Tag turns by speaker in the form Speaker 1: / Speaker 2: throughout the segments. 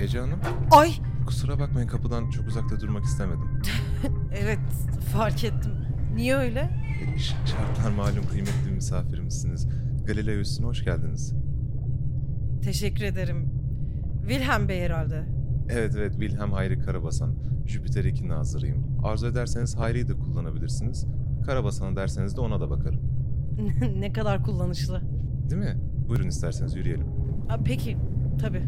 Speaker 1: Ece Hanım,
Speaker 2: Ay
Speaker 1: kusura bakmayın kapıdan çok uzakta durmak istemedim.
Speaker 2: evet fark ettim. Niye öyle?
Speaker 1: E, ş- Şartlar malum kıymetli misafirimizsiniz. Galileo üstüne hoş geldiniz.
Speaker 2: Teşekkür ederim. Wilhelm Bey herhalde.
Speaker 1: Evet evet Wilhelm Hayri Karabasan. Jüpiter 2 nazırıyım. Arzu ederseniz Hayri'yi de kullanabilirsiniz. Karabasan'ı derseniz de ona da bakarım.
Speaker 2: ne kadar kullanışlı.
Speaker 1: Değil mi? Buyurun isterseniz yürüyelim.
Speaker 2: Aa, peki tabii.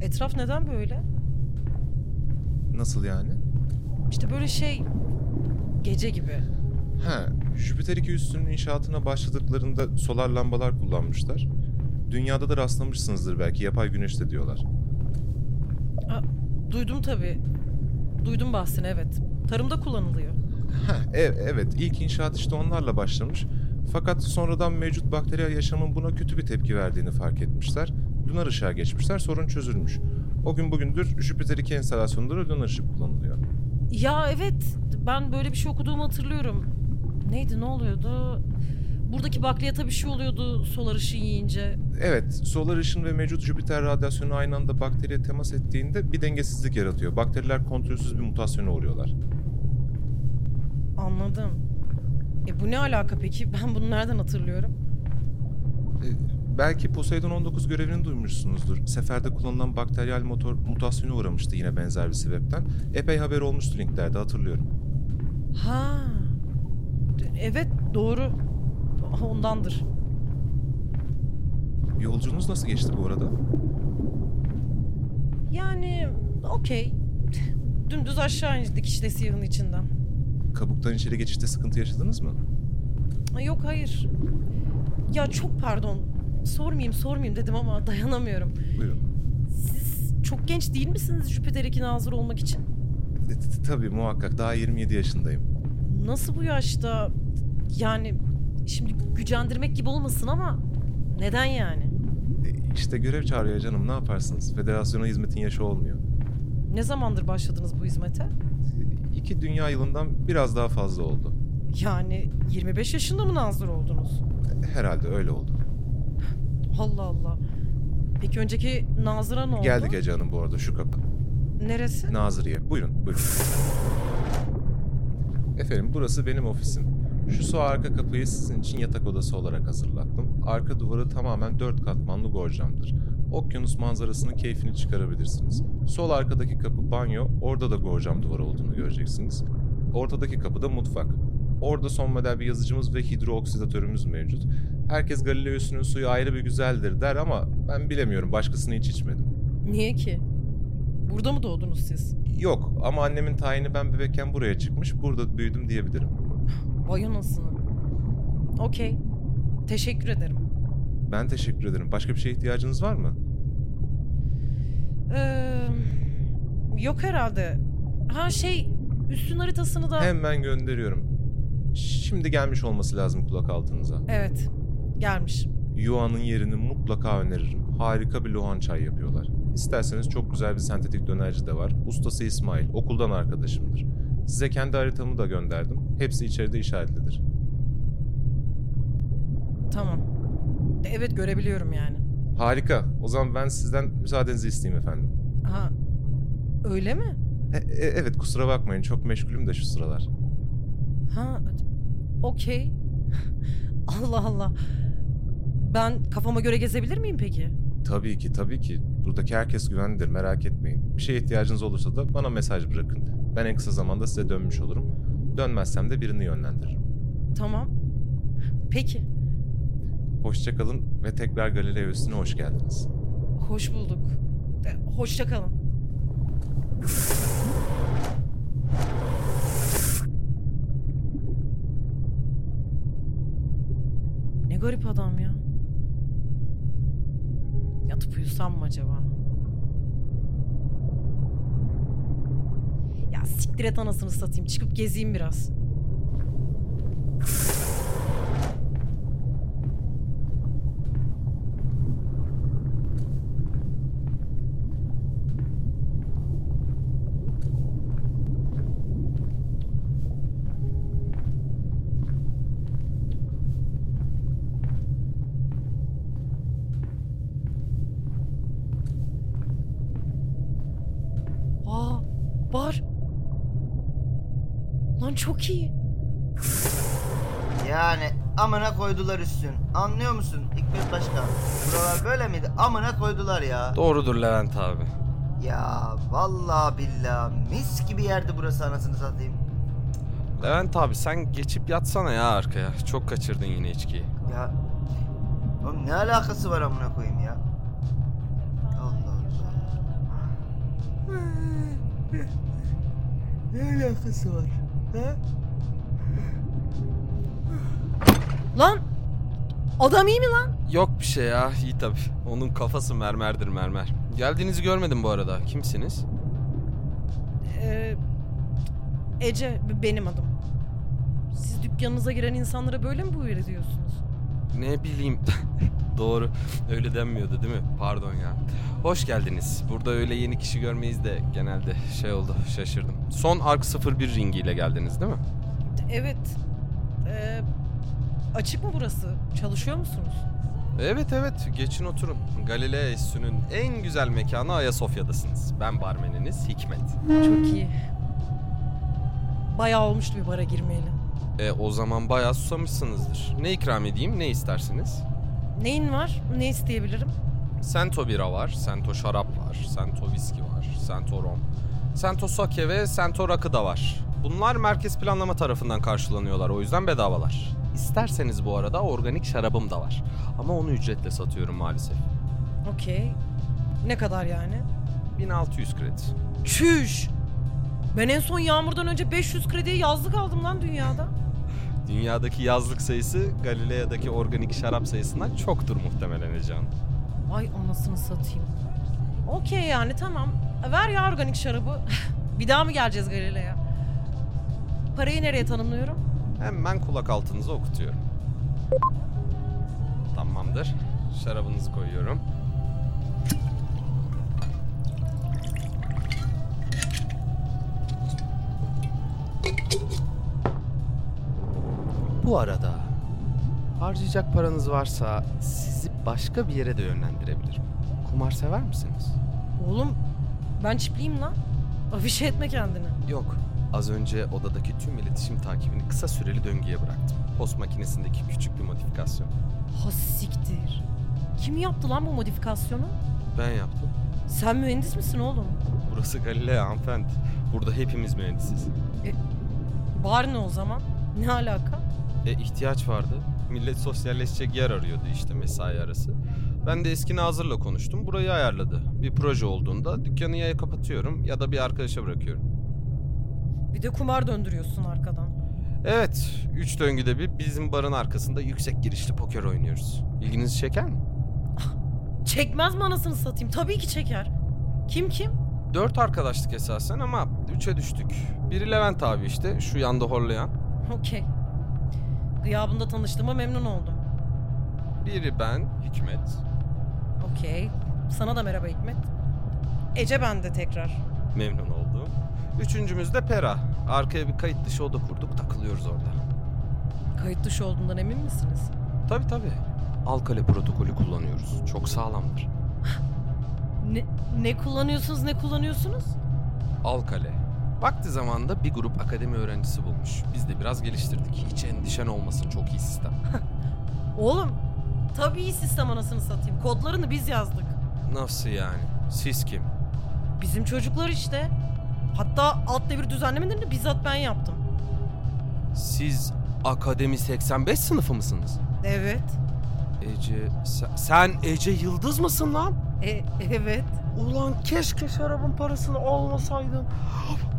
Speaker 2: Etraf neden böyle?
Speaker 1: Nasıl yani?
Speaker 2: İşte böyle şey gece gibi.
Speaker 1: Ha, Jüpiter 2 üstünün inşaatına başladıklarında solar lambalar kullanmışlar. Dünyada da rastlamışsınızdır belki yapay güneş de diyorlar.
Speaker 2: Aa, duydum tabii. Duydum bahsini evet. Tarımda kullanılıyor.
Speaker 1: Ha, ev, evet ilk inşaat işte onlarla başlamış. Fakat sonradan mevcut bakteriyel yaşamın buna kötü bir tepki verdiğini fark etmişler. Lunar ışığa geçmişler sorun çözülmüş. O gün bugündür Jüpiter 2 enstalasyonları lunar ışık kullanılıyor.
Speaker 2: Ya evet ben böyle bir şey okuduğumu hatırlıyorum. Neydi ne oluyordu? Buradaki bakliyata bir şey oluyordu solar ışığı yiyince.
Speaker 1: Evet, solar ışın ve mevcut Jüpiter radyasyonu aynı anda bakteriye temas ettiğinde bir dengesizlik yaratıyor. Bakteriler kontrolsüz bir mutasyona uğruyorlar.
Speaker 2: Anladım. E bu ne alaka peki? Ben bunu nereden hatırlıyorum?
Speaker 1: E, Belki Poseidon 19 görevini duymuşsunuzdur. Seferde kullanılan bakteriyel motor mutasyona uğramıştı yine benzer bir sebepten. Epey haber olmuştu linklerde hatırlıyorum.
Speaker 2: Ha. Evet doğru. Ondandır.
Speaker 1: Yolculuğunuz nasıl geçti bu arada?
Speaker 2: Yani okey. Dümdüz aşağı indik işte siyahın içinden.
Speaker 1: Kabuktan içeri geçişte sıkıntı yaşadınız mı?
Speaker 2: Ay Yok hayır. Ya çok pardon. Sormayayım sormayayım dedim ama dayanamıyorum.
Speaker 1: Buyurun.
Speaker 2: Siz çok genç değil misiniz Jüpiter 2 nazır olmak için?
Speaker 1: E, t- t- Tabii muhakkak daha 27 yaşındayım.
Speaker 2: Nasıl bu yaşta? Yani şimdi gücendirmek gibi olmasın ama neden yani?
Speaker 1: E, İşte görev çağırıyor canım ne yaparsınız? Federasyona hizmetin yaşı olmuyor.
Speaker 2: Ne zamandır başladınız bu hizmete?
Speaker 1: E, İki dünya yılından biraz daha fazla oldu.
Speaker 2: Yani 25 yaşında mı nazır oldunuz?
Speaker 1: E, Herhalde öyle oldu.
Speaker 2: Allah Allah. Peki önceki nazıra ne oldu?
Speaker 1: Geldik Ece Hanım bu arada şu kapı.
Speaker 2: Neresi?
Speaker 1: Nazırı'ya. Buyurun, buyurun. Efendim burası benim ofisim. Şu sol arka kapıyı sizin için yatak odası olarak hazırlattım. Arka duvarı tamamen dört katmanlı gorcamdır. Okyanus manzarasının keyfini çıkarabilirsiniz. Sol arkadaki kapı banyo, orada da gorcam duvarı olduğunu göreceksiniz. Ortadaki kapı da mutfak. Orada son model bir yazıcımız ve hidrooksidatörümüz mevcut. Herkes Galileo'sunun suyu ayrı bir güzeldir der ama ben bilemiyorum başkasını hiç içmedim.
Speaker 2: Niye ki? Burada mı doğdunuz siz?
Speaker 1: Yok ama annemin tayini ben bebekken buraya çıkmış. Burada büyüdüm diyebilirim.
Speaker 2: Vay anasını. Okey. Teşekkür ederim.
Speaker 1: Ben teşekkür ederim. Başka bir şeye ihtiyacınız var mı?
Speaker 2: Ee, yok herhalde. Ha şey üstün haritasını da...
Speaker 1: Hemen gönderiyorum. Şimdi gelmiş olması lazım kulak altınıza.
Speaker 2: Evet gelmiş.
Speaker 1: Yuan'ın yerini mutlaka öneririm. Harika bir lohan çay yapıyorlar. İsterseniz çok güzel bir sentetik dönerci de var. Ustası İsmail. Okuldan arkadaşımdır. Size kendi haritamı da gönderdim. Hepsi içeride işaretlidir.
Speaker 2: Tamam. Evet görebiliyorum yani.
Speaker 1: Harika. O zaman ben sizden müsaadenizi isteyeyim efendim.
Speaker 2: Ha öyle mi?
Speaker 1: E- e- evet kusura bakmayın. Çok meşgulüm de şu sıralar.
Speaker 2: Ha okey. Allah Allah. Ben kafama göre gezebilir miyim peki?
Speaker 1: Tabii ki tabii ki. Buradaki herkes güvenlidir merak etmeyin. Bir şeye ihtiyacınız olursa da bana mesaj bırakın. Ben en kısa zamanda size dönmüş olurum. Dönmezsem de birini yönlendiririm.
Speaker 2: Tamam. Peki.
Speaker 1: Hoşçakalın ve tekrar Galileo üstüne hoş geldiniz.
Speaker 2: Hoş bulduk. E, Hoşça kalın. Ne garip adam ya. Yatıp uyusam mı acaba? Ya siktir et anasını satayım. Çıkıp gezeyim biraz. Bağır. Lan çok iyi.
Speaker 3: Yani amına koydular üstün. Anlıyor musun Hikmet Başkan? Buralar böyle miydi? Amına koydular ya.
Speaker 4: Doğrudur Levent abi.
Speaker 3: Ya vallahi billahi mis gibi yerdi burası anasını satayım.
Speaker 4: Levent abi sen geçip yatsana ya arkaya. Çok kaçırdın yine içkiyi.
Speaker 3: Ya oğlum ne alakası var amına koyayım ya? Allah Allah. ne alakası var? Ha?
Speaker 2: Lan adam iyi mi lan?
Speaker 4: Yok bir şey ya iyi tabi. Onun kafası mermerdir mermer. Geldiğinizi görmedim bu arada. Kimsiniz?
Speaker 2: Ee, Ece benim adım. Siz dükkanınıza giren insanlara böyle mi buyur ediyorsunuz?
Speaker 4: Ne bileyim. Doğru. Öyle denmiyordu değil mi? Pardon ya. Hoş geldiniz. Burada öyle yeni kişi görmeyiz de genelde şey oldu şaşırdım. Son Ark 01 ringiyle geldiniz değil mi?
Speaker 2: Evet. Ee, açık mı burası? Çalışıyor musunuz?
Speaker 4: Evet evet geçin oturun. Galilea Üssü'nün en güzel mekanı Ayasofya'dasınız. Ben barmeniniz Hikmet.
Speaker 2: Çok iyi. Bayağı olmuştu bir bara girmeyeli.
Speaker 4: E o zaman bayağı susamışsınızdır. Ne ikram edeyim ne istersiniz?
Speaker 2: Neyin var? Ne isteyebilirim?
Speaker 4: Sento bira var, Sento şarap var, Sento viski var, Sento rom, Sento sake ve Sento rakı da var. Bunlar merkez planlama tarafından karşılanıyorlar o yüzden bedavalar. İsterseniz bu arada organik şarabım da var. Ama onu ücretle satıyorum maalesef.
Speaker 2: Okey. Ne kadar yani?
Speaker 4: 1600 kredi.
Speaker 2: Çüş! Ben en son yağmurdan önce 500 krediye yazlık aldım lan dünyada.
Speaker 4: Dünyadaki yazlık sayısı Galilea'daki organik şarap sayısından çoktur muhtemelen Ecehan.
Speaker 2: Ay anasını satayım. Okey yani tamam. Ver ya organik şarabı. bir daha mı geleceğiz Galile'ye? Parayı nereye tanımlıyorum?
Speaker 4: Hemen kulak altınıza okutuyorum. Tamamdır. Şarabınızı koyuyorum. Bu arada harcayacak paranız varsa sizi başka bir yere de yönlendirebilirim. Kumar sever misiniz?
Speaker 2: Oğlum ben çipliyim lan. Afişe etme kendini.
Speaker 4: Yok. Az önce odadaki tüm iletişim takibini kısa süreli döngüye bıraktım. Post makinesindeki küçük bir modifikasyon.
Speaker 2: Ha siktir. Kim yaptı lan bu modifikasyonu?
Speaker 4: Ben yaptım.
Speaker 2: Sen mühendis misin oğlum?
Speaker 4: Burası Galilea hanımefendi. Burada hepimiz mühendisiz.
Speaker 2: Bari ne o zaman? Ne alaka?
Speaker 4: E ihtiyaç vardı. Millet sosyalleşecek yer arıyordu işte mesai arası. Ben de eski nazırla konuştum. Burayı ayarladı. Bir proje olduğunda dükkanı ya kapatıyorum ya da bir arkadaşa bırakıyorum.
Speaker 2: Bir de kumar döndürüyorsun arkadan.
Speaker 4: Evet, üç döngüde bir bizim barın arkasında yüksek girişli poker oynuyoruz. İlginizi çeker mi?
Speaker 2: Çekmez mi anasını satayım? Tabii ki çeker. Kim kim?
Speaker 4: Dört arkadaşlık esasen ama üçe düştük. Biri Levent abi işte şu yanda horlayan.
Speaker 2: Okey. Gıyabında tanıştığıma memnun oldum.
Speaker 4: Biri ben Hikmet.
Speaker 2: Okey. Sana da merhaba Hikmet. Ece ben de tekrar.
Speaker 4: Memnun oldum. Üçüncümüz de Pera. Arkaya bir kayıt dışı oda kurduk takılıyoruz orada.
Speaker 2: Kayıt dışı olduğundan emin misiniz?
Speaker 4: Tabii tabii. Alkale protokolü kullanıyoruz. Çok sağlamdır.
Speaker 2: Ne, ne kullanıyorsunuz ne kullanıyorsunuz?
Speaker 4: Alkale. Vakti zamanında bir grup akademi öğrencisi bulmuş. Biz de biraz geliştirdik. Hiç endişen olmasın çok iyi sistem.
Speaker 2: Oğlum tabii iyi sistem anasını satayım. Kodlarını biz yazdık.
Speaker 4: Nasıl yani? Siz kim?
Speaker 2: Bizim çocuklar işte. Hatta alt devir düzenlemelerini bizzat ben yaptım.
Speaker 4: Siz Akademi 85 sınıfı mısınız?
Speaker 2: Evet.
Speaker 4: Ece... Sen, sen Ece Yıldız mısın lan?
Speaker 2: E, evet.
Speaker 4: Ulan keşke şarabın parasını almasaydım.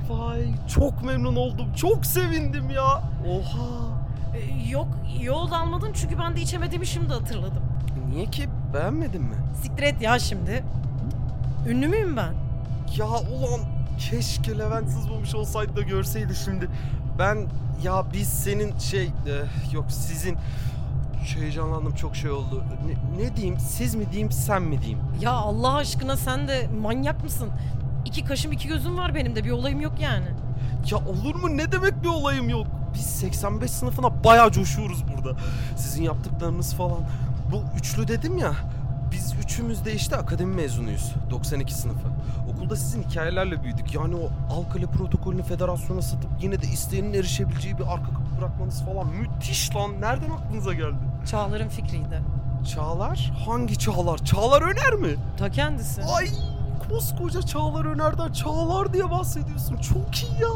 Speaker 4: Vay çok memnun oldum. Çok sevindim ya. Oha.
Speaker 2: E, yok iyi oldu almadın çünkü ben de içemediğimi şimdi hatırladım.
Speaker 4: Niye ki beğenmedin mi?
Speaker 2: Siktir et ya şimdi. Ünlü müyüm ben?
Speaker 4: Ya ulan keşke Levent sızmamış olsaydı da görseydi şimdi. Ben ya biz senin şey e, yok sizin Şu heyecanlandım çok şey oldu. Ne, ne diyeyim siz mi diyeyim sen mi diyeyim?
Speaker 2: Ya Allah aşkına sen de manyak mısın? İki kaşım iki gözüm var benim de bir olayım yok yani.
Speaker 4: Ya olur mu ne demek bir olayım yok. Biz 85 sınıfına bayağı coşuyoruz burada. Sizin yaptıklarınız falan. Bu üçlü dedim ya. Biz üçümüz de işte akademi mezunuyuz. 92 sınıfı. Okulda sizin hikayelerle büyüdük. Yani o Alkale protokolünü federasyona satıp yine de isteyenin erişebileceği bir arka kapı bırakmanız falan müthiş lan. Nereden aklınıza geldi?
Speaker 2: Çağlar'ın fikriydi.
Speaker 4: Çağlar? Hangi Çağlar? Çağlar Öner mi?
Speaker 2: Ta kendisi.
Speaker 4: Ay koskoca Çağlar Öner'den Çağlar diye bahsediyorsun. Çok iyi ya.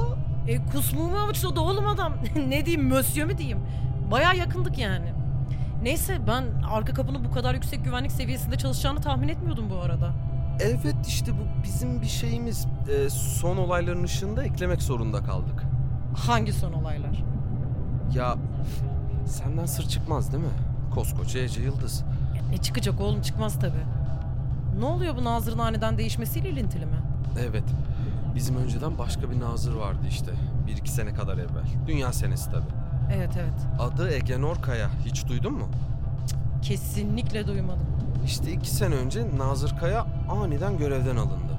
Speaker 2: E, kusmuğumu avuçladı oğlum adam. ne diyeyim, mösyö mü diyeyim? Baya yakındık yani. Neyse ben arka kapının bu kadar yüksek güvenlik seviyesinde çalışacağını tahmin etmiyordum bu arada.
Speaker 4: Evet işte bu bizim bir şeyimiz. Ee, son olayların ışığında eklemek zorunda kaldık.
Speaker 2: Hangi son olaylar?
Speaker 4: Ya senden sır çıkmaz değil mi? Koskoca Ece Yıldız.
Speaker 2: E çıkacak oğlum çıkmaz tabi. Ne oluyor bu Nazır'ın aniden değişmesiyle ilintili mi?
Speaker 4: Evet. Bizim önceden başka bir nazır vardı işte. Bir iki sene kadar evvel. Dünya senesi tabii.
Speaker 2: Evet evet.
Speaker 4: Adı Egenor Kaya. Hiç duydun mu?
Speaker 2: Kesinlikle duymadım.
Speaker 4: İşte iki sene önce Nazır Kaya aniden görevden alındı.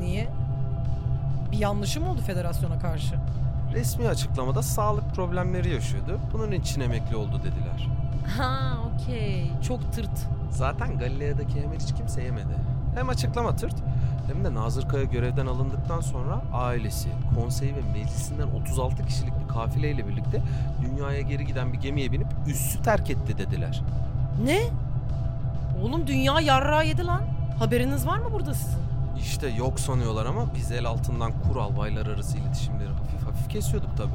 Speaker 2: Niye? Bir yanlışım oldu federasyona karşı.
Speaker 4: Resmi açıklamada sağlık problemleri yaşıyordu. Bunun için emekli oldu dediler.
Speaker 2: Ha okey. Çok tırt.
Speaker 4: Zaten Galilea'daki yemeği hiç kimse yemedi. Hem açıklama tırt hem de Nazır Kaya görevden alındıktan sonra ailesi, konseyi ve meclisinden 36 kişilik bir kafileyle birlikte dünyaya geri giden bir gemiye binip üssü terk etti dediler.
Speaker 2: Ne? Oğlum dünya yarrağı yedi lan. Haberiniz var mı burada sizin?
Speaker 4: İşte yok sanıyorlar ama biz el altından kur albaylar arası iletişimleri hafif hafif kesiyorduk tabi.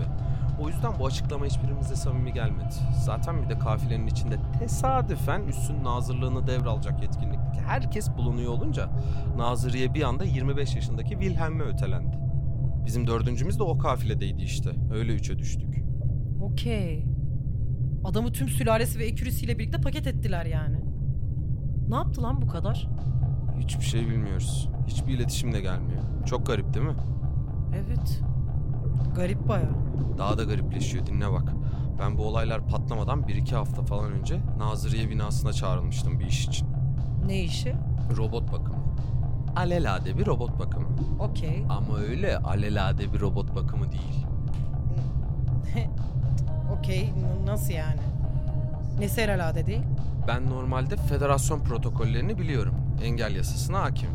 Speaker 4: O yüzden bu açıklama hiçbirimize samimi gelmedi. Zaten bir de kafilenin içinde tesadüfen üssün nazırlığını devralacak yetkinlikteki herkes bulunuyor olunca nazırıya bir anda 25 yaşındaki Wilhelm'e ötelendi. Bizim dördüncümüz de o kafiledeydi işte. Öyle üçe düştük.
Speaker 2: Okey. Adamı tüm sülalesi ve ekürüsüyle birlikte paket ettiler yani. Ne yaptı lan bu kadar?
Speaker 4: Hiçbir şey bilmiyoruz. Hiçbir iletişim de gelmiyor. Çok garip değil mi?
Speaker 2: Evet. Garip baya.
Speaker 4: Daha da garipleşiyor dinle bak. Ben bu olaylar patlamadan 1-2 hafta falan önce Nazırıye binasına çağrılmıştım bir iş için.
Speaker 2: Ne işi?
Speaker 4: Robot bakımı. Alelade bir robot bakımı.
Speaker 2: Okey.
Speaker 4: Ama öyle alelade bir robot bakımı değil.
Speaker 2: Okey. n- nasıl yani? Nesi herhalde değil?
Speaker 4: Ben normalde federasyon protokollerini biliyorum. Engel yasasına hakim.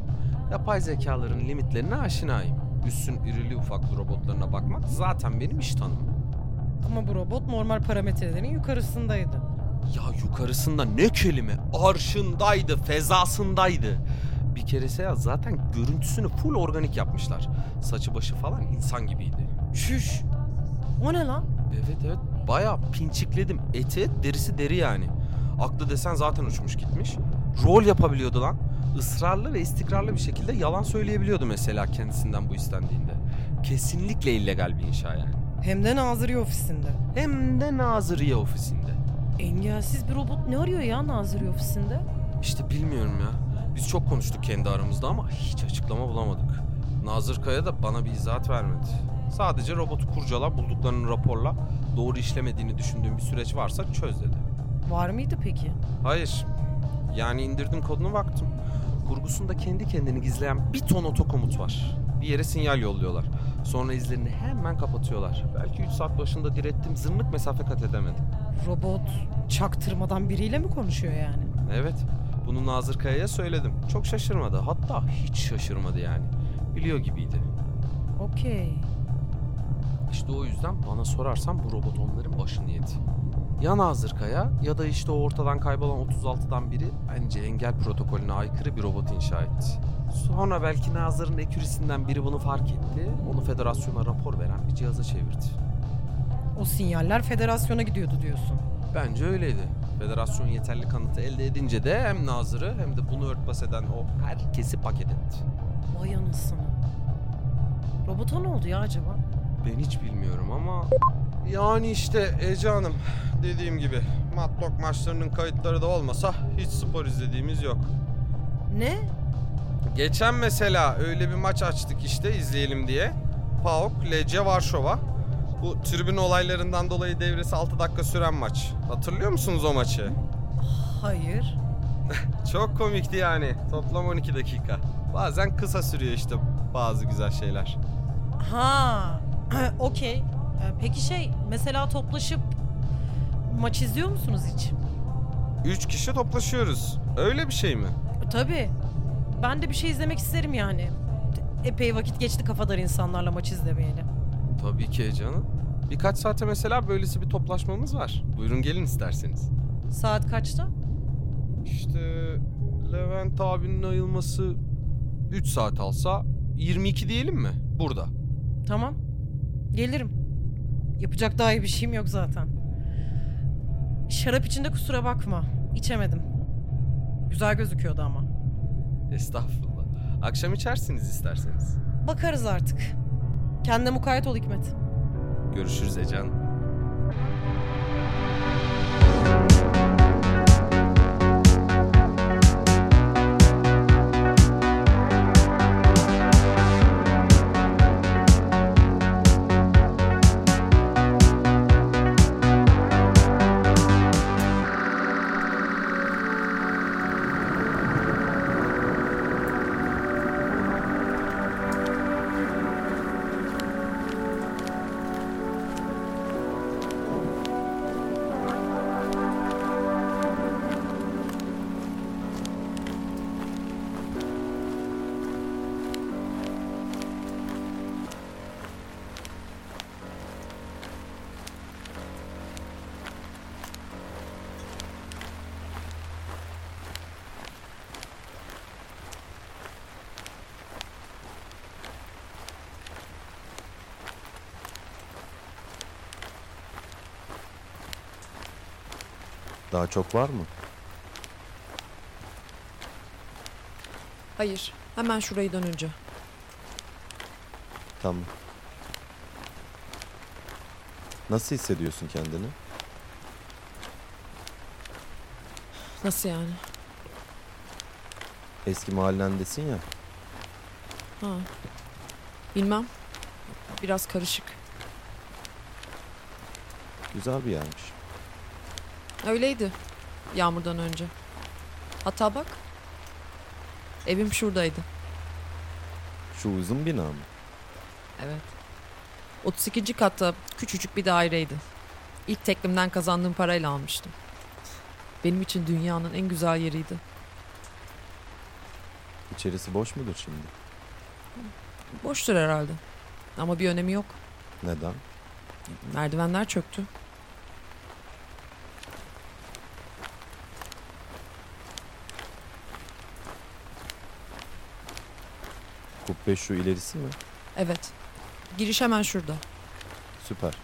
Speaker 4: Yapay zekaların limitlerine aşinayım. Üssün irili ufaklı robotlarına bakmak zaten benim iş tanımım.
Speaker 2: Ama bu robot normal parametrelerin yukarısındaydı.
Speaker 4: Ya yukarısında ne kelime? Arşındaydı, fezasındaydı. Bir kerese ya zaten görüntüsünü full organik yapmışlar. Saçı başı falan insan gibiydi.
Speaker 2: Şüş. O ne lan?
Speaker 4: Evet evet bayağı pinçikledim. Eti et, derisi deri yani. Aklı desen zaten uçmuş gitmiş. Rol yapabiliyordu lan. Israrlı ve istikrarlı bir şekilde yalan söyleyebiliyordu mesela kendisinden bu istendiğinde. Kesinlikle illegal bir inşa yani.
Speaker 2: Hem de Nazırı ofisinde.
Speaker 4: Hem de Nazırıye ofisinde.
Speaker 2: Engelsiz bir robot ne arıyor ya Nazırı ofisinde?
Speaker 4: İşte bilmiyorum ya. Biz çok konuştuk kendi aramızda ama hiç açıklama bulamadık. Nazır Kaya da bana bir izahat vermedi. Sadece robotu kurcala bulduklarının raporla doğru işlemediğini düşündüğüm bir süreç varsa çöz dedi.
Speaker 2: Var mıydı peki?
Speaker 4: Hayır. Yani indirdim kodunu baktım. Kurgusunda kendi kendini gizleyen bir ton otokomut var. Bir yere sinyal yolluyorlar. Sonra izlerini hemen kapatıyorlar. Belki 3 saat başında direttim zırnık mesafe kat edemedim.
Speaker 2: Robot çaktırmadan biriyle mi konuşuyor yani?
Speaker 4: Evet. Bunu Nazır Kaya'ya söyledim. Çok şaşırmadı. Hatta hiç şaşırmadı yani. Biliyor gibiydi.
Speaker 2: Okey.
Speaker 4: İşte o yüzden bana sorarsan bu robot onların başını yedi. Ya Nazır Kaya ya da işte o ortadan kaybolan 36'dan biri bence engel protokolüne aykırı bir robot inşa etti. Sonra belki Nazır'ın ekürisinden biri bunu fark etti. Onu federasyona rapor veren bir cihaza çevirdi.
Speaker 2: O sinyaller federasyona gidiyordu diyorsun.
Speaker 4: Bence öyleydi. Federasyon yeterli kanıtı elde edince de hem Nazır'ı hem de bunu örtbas eden o herkesi paket etti.
Speaker 2: Vay anasını. Robota ne oldu ya acaba?
Speaker 4: Ben hiç bilmiyorum ama... Yani işte Ece Hanım dediğim gibi Matlock maçlarının kayıtları da olmasa hiç spor izlediğimiz yok.
Speaker 2: Ne?
Speaker 4: Geçen mesela öyle bir maç açtık işte izleyelim diye. PAOK, LC Varşova. Bu tribün olaylarından dolayı devresi 6 dakika süren maç. Hatırlıyor musunuz o maçı?
Speaker 2: Hayır.
Speaker 4: Çok komikti yani. Toplam 12 dakika. Bazen kısa sürüyor işte bazı güzel şeyler.
Speaker 2: Ha. Okey. Ee, Peki şey mesela toplaşıp maç izliyor musunuz hiç?
Speaker 4: Üç kişi toplaşıyoruz. Öyle bir şey mi?
Speaker 2: E, Tabii. Ben de bir şey izlemek isterim yani. Epey vakit geçti kafadar insanlarla maç izlemeyeli.
Speaker 4: Tabii ki heyecanı. Birkaç saate mesela böylesi bir toplaşmamız var. Buyurun gelin isterseniz.
Speaker 2: Saat kaçta?
Speaker 4: İşte Levent abinin ayılması 3 saat alsa 22 diyelim mi? Burada.
Speaker 2: Tamam. Gelirim. Yapacak daha iyi bir şeyim yok zaten. Şarap içinde kusura bakma. İçemedim. Güzel gözüküyordu ama.
Speaker 4: Estağfurullah. Akşam içersiniz isterseniz.
Speaker 2: Bakarız artık. Kendine mukayyet ol Hikmet.
Speaker 4: Görüşürüz Ece
Speaker 5: Daha çok var mı?
Speaker 6: Hayır. Hemen şurayı dönünce.
Speaker 5: Tamam. Nasıl hissediyorsun kendini?
Speaker 6: Nasıl yani?
Speaker 5: Eski mahallendesin ya.
Speaker 6: Ha. Bilmem. Biraz karışık.
Speaker 5: Güzel bir yermiş.
Speaker 6: Öyleydi. Yağmurdan önce. Hatta bak. Evim şuradaydı.
Speaker 5: Şu uzun bina mı?
Speaker 6: Evet. 32. katta küçücük bir daireydi. İlk teklimden kazandığım parayla almıştım. Benim için dünyanın en güzel yeriydi.
Speaker 5: İçerisi boş mudur şimdi?
Speaker 6: Boştur herhalde. Ama bir önemi yok.
Speaker 5: Neden?
Speaker 6: Merdivenler çöktü.
Speaker 5: Kubbe şu ilerisi mi?
Speaker 6: Evet. Giriş hemen şurada.
Speaker 5: Süper.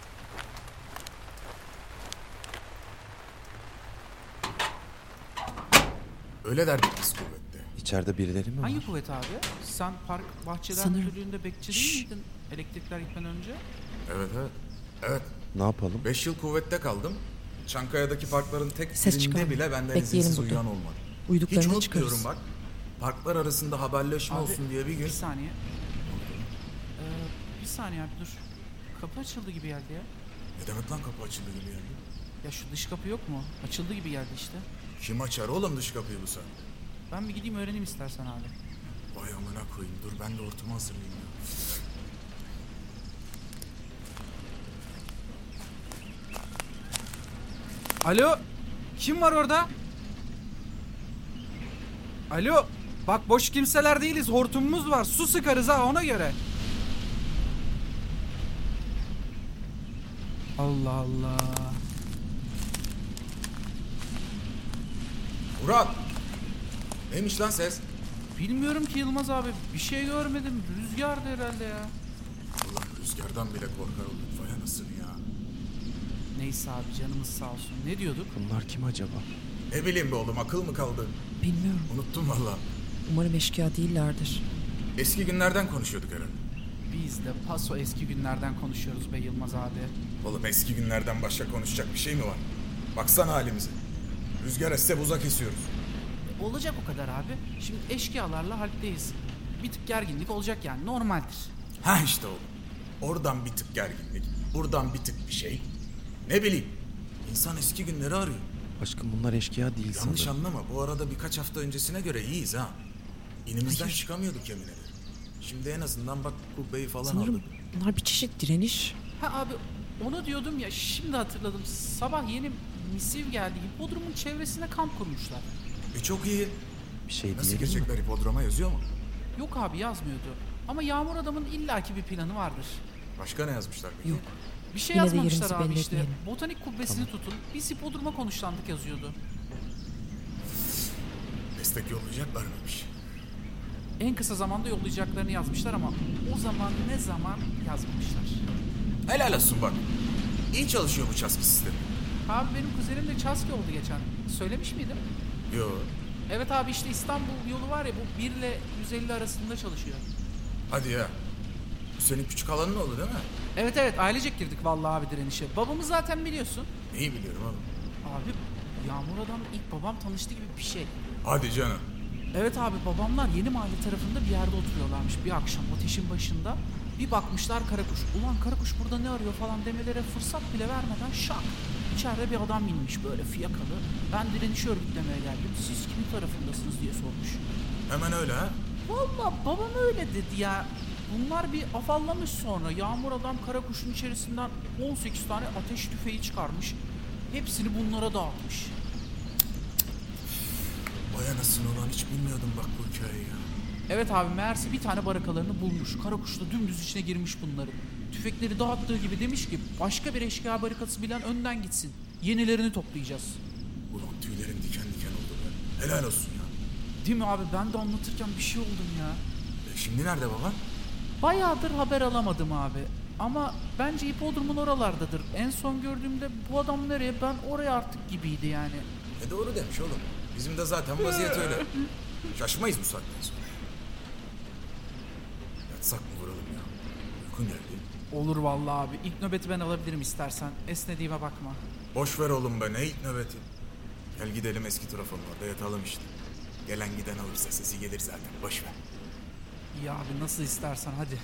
Speaker 7: Öyle derdik biz kuvvette.
Speaker 5: İçeride birileri mi var?
Speaker 8: Hangi kuvvet abi? Sen park bahçeden
Speaker 6: Sanırım.
Speaker 8: müdürlüğünde bekçi değil
Speaker 6: Şşş.
Speaker 8: miydin elektrikler gitmeden önce?
Speaker 7: Evet evet. Evet.
Speaker 5: Ne yapalım?
Speaker 7: Beş yıl kuvvette kaldım. Çankaya'daki parkların tek
Speaker 6: Ses
Speaker 7: birinde
Speaker 6: çıkarma.
Speaker 7: bile benden
Speaker 6: Bekleyelim
Speaker 7: izinsiz
Speaker 6: burada.
Speaker 7: uyuyan olmadı. Hiç
Speaker 6: Uyduklarını
Speaker 7: unutmuyorum
Speaker 6: çıkarız.
Speaker 7: bak. Parklar arasında haberleşme
Speaker 8: Abi,
Speaker 7: olsun diye bir gün
Speaker 8: Bir saniye. Ee, bir saniye abi dur. Kapı açıldı gibi geldi ya.
Speaker 7: Ne E demek lan kapı açıldı gibi yani?
Speaker 8: Ya şu dış kapı yok mu? Açıldı gibi geldi işte.
Speaker 7: Kim açar oğlum dış kapıyı bu sen?
Speaker 8: Ben bir gideyim öğreneyim istersen abi.
Speaker 7: Vay amına koyayım dur ben de ortamı hazırlayayım ya.
Speaker 8: Alo? Kim var orada? Alo? Bak boş kimseler değiliz. Hortumumuz var. Su sıkarız ha ona göre. Allah Allah.
Speaker 7: Murat! Neymiş lan ses?
Speaker 8: Bilmiyorum ki Yılmaz abi. Bir şey görmedim. Rüzgardı herhalde ya.
Speaker 7: Allah rüzgardan bile korkar oğlum vay anasını ya.
Speaker 8: Neyse abi canımız sağ olsun. Ne diyorduk?
Speaker 5: Bunlar kim acaba?
Speaker 7: Ne bileyim be oğlum akıl mı kaldı?
Speaker 6: Bilmiyorum.
Speaker 7: Unuttum valla.
Speaker 6: Umarım eşkıya değillerdir.
Speaker 7: Eski günlerden konuşuyorduk herhalde.
Speaker 8: Biz de paso eski günlerden konuşuyoruz be Yılmaz abi.
Speaker 7: Oğlum eski günlerden başka konuşacak bir şey mi var? Baksana halimize. Rüzgar esse buza kesiyoruz.
Speaker 8: E, Olacak o kadar abi. Şimdi eşkıyalarla halpteyiz. Bir tık gerginlik olacak yani normaldir.
Speaker 7: Ha işte oğlum. Oradan bir tık gerginlik, buradan bir tık bir şey. Ne bileyim. İnsan eski günleri arıyor.
Speaker 5: Aşkım bunlar eşkıya değil
Speaker 7: Yanlış
Speaker 5: sanırım.
Speaker 7: anlama bu arada birkaç hafta öncesine göre iyiyiz ha. İnimizden çıkamıyorduk yemin ederim. Şimdi en azından bak kubbeyi falan
Speaker 6: Sanırım
Speaker 7: aldık.
Speaker 6: bunlar bir çeşit direniş.
Speaker 8: Ha abi onu diyordum ya şimdi hatırladım. Sabah yeni misiv geldi gibi Bodrum'un çevresine kamp kurmuşlar.
Speaker 7: E çok iyi.
Speaker 5: Bir şey
Speaker 7: Nasıl
Speaker 5: diyelim mi?
Speaker 7: girecekler hipodroma yazıyor mu?
Speaker 8: Yok abi yazmıyordu. Ama Yağmur Adam'ın illaki bir planı vardır.
Speaker 7: Başka ne yazmışlar peki?
Speaker 6: Yok.
Speaker 8: Bir şey
Speaker 6: Yine de
Speaker 8: yazmamışlar
Speaker 6: yerimizi
Speaker 8: abi
Speaker 6: belli
Speaker 8: işte.
Speaker 6: etmeyelim.
Speaker 8: Botanik kubbesini tutun. Biz hipodroma konuşlandık yazıyordu.
Speaker 7: Destek yollayacaklar mıymış?
Speaker 8: En kısa zamanda yollayacaklarını yazmışlar ama o zaman ne zaman yazmamışlar.
Speaker 7: Helal olsun bak. İyi çalışıyor bu çaskı sistemi.
Speaker 8: Abi benim kuzenim de Çaski oldu geçen. Söylemiş miydim?
Speaker 7: Yo.
Speaker 8: Evet abi işte İstanbul yolu var ya bu 1 ile 150 arasında çalışıyor.
Speaker 7: Hadi ya. Bu senin küçük alanın oldu değil mi?
Speaker 8: Evet evet ailecek girdik vallahi abi direnişe. Babamı zaten biliyorsun.
Speaker 7: İyi biliyorum abi.
Speaker 8: Abi Yağmur Adam'la ilk babam tanıştı gibi bir şey.
Speaker 7: Hadi canım.
Speaker 8: Evet abi babamlar yeni mahalle tarafında bir yerde oturuyorlarmış bir akşam ateşin başında. Bir bakmışlar karakuş. Ulan karakuş burada ne arıyor falan demelere fırsat bile vermeden şak. İçeride bir adam inmiş böyle fiyakalı. Ben direniş örgütlemeye geldim. Siz kimin tarafındasınız diye sormuş.
Speaker 7: Hemen öyle ha.
Speaker 8: Valla babam öyle dedi ya. Bunlar bir afallamış sonra. Yağmur adam karakuşun içerisinden 18 tane ateş tüfeği çıkarmış. Hepsini bunlara dağıtmış.
Speaker 7: Vay anasını ulan hiç bilmiyordum bak bu hikayeyi ya.
Speaker 8: Evet abi meğerse bir tane barakalarını bulmuş. Karakuş da dümdüz içine girmiş bunların. Tüfekleri dağıttığı gibi demiş ki başka bir eşkıya barikası bilen önden gitsin. Yenilerini toplayacağız.
Speaker 7: Ulan tüylerim diken diken oldu be. Helal olsun ya.
Speaker 8: Değil mi abi ben de anlatırken bir şey oldum ya.
Speaker 7: E şimdi nerede baban?
Speaker 8: Bayağıdır haber alamadım abi. Ama bence hipodromun oralardadır. En son gördüğümde bu adam nereye ben oraya artık gibiydi yani.
Speaker 7: E doğru demiş oğlum. Bizim de zaten vaziyet öyle. Şaşmayız bu saatten sonra. Yatsak mı vuralım ya? Uykun geldi.
Speaker 8: Olur vallahi abi. İlk nöbeti ben alabilirim istersen. Esnediğime bakma.
Speaker 7: Boş ver oğlum be ne ilk nöbeti. Gel gidelim eski trafonun orada yatalım işte. Gelen giden alırsa sesi gelir zaten boş ver.
Speaker 8: İyi abi nasıl istersen hadi.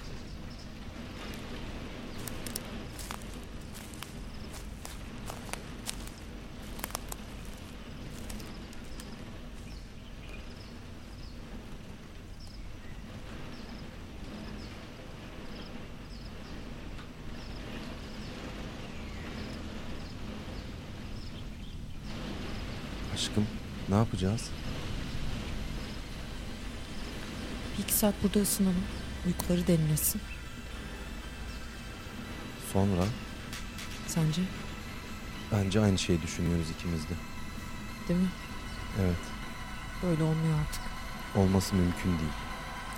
Speaker 5: Aşkım ne yapacağız?
Speaker 6: Bir iki saat burada ısınalım. Uykuları derinlesin.
Speaker 5: Sonra
Speaker 6: Sence?
Speaker 5: bence aynı şeyi düşünüyoruz ikimiz de.
Speaker 6: Değil mi?
Speaker 5: Evet
Speaker 6: Böyle olmuyor artık.
Speaker 5: olması mümkün değil.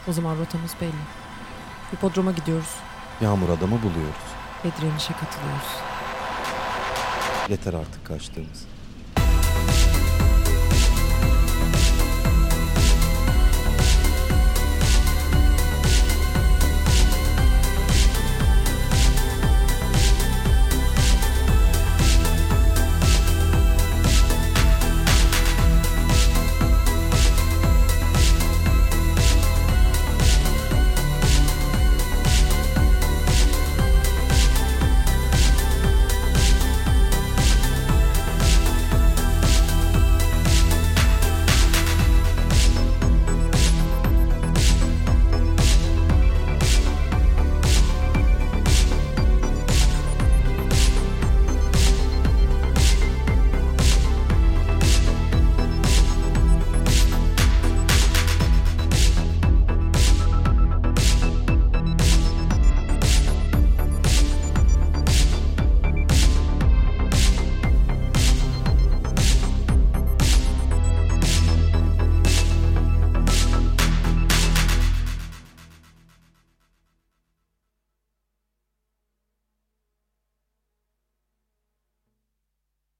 Speaker 6: O zaman rotamız belli. Hipodroma gidiyoruz
Speaker 5: Yağmur adamı buluyoruz.
Speaker 6: ve direnişe katılıyoruz.
Speaker 5: Yeter artık kaçtığımız.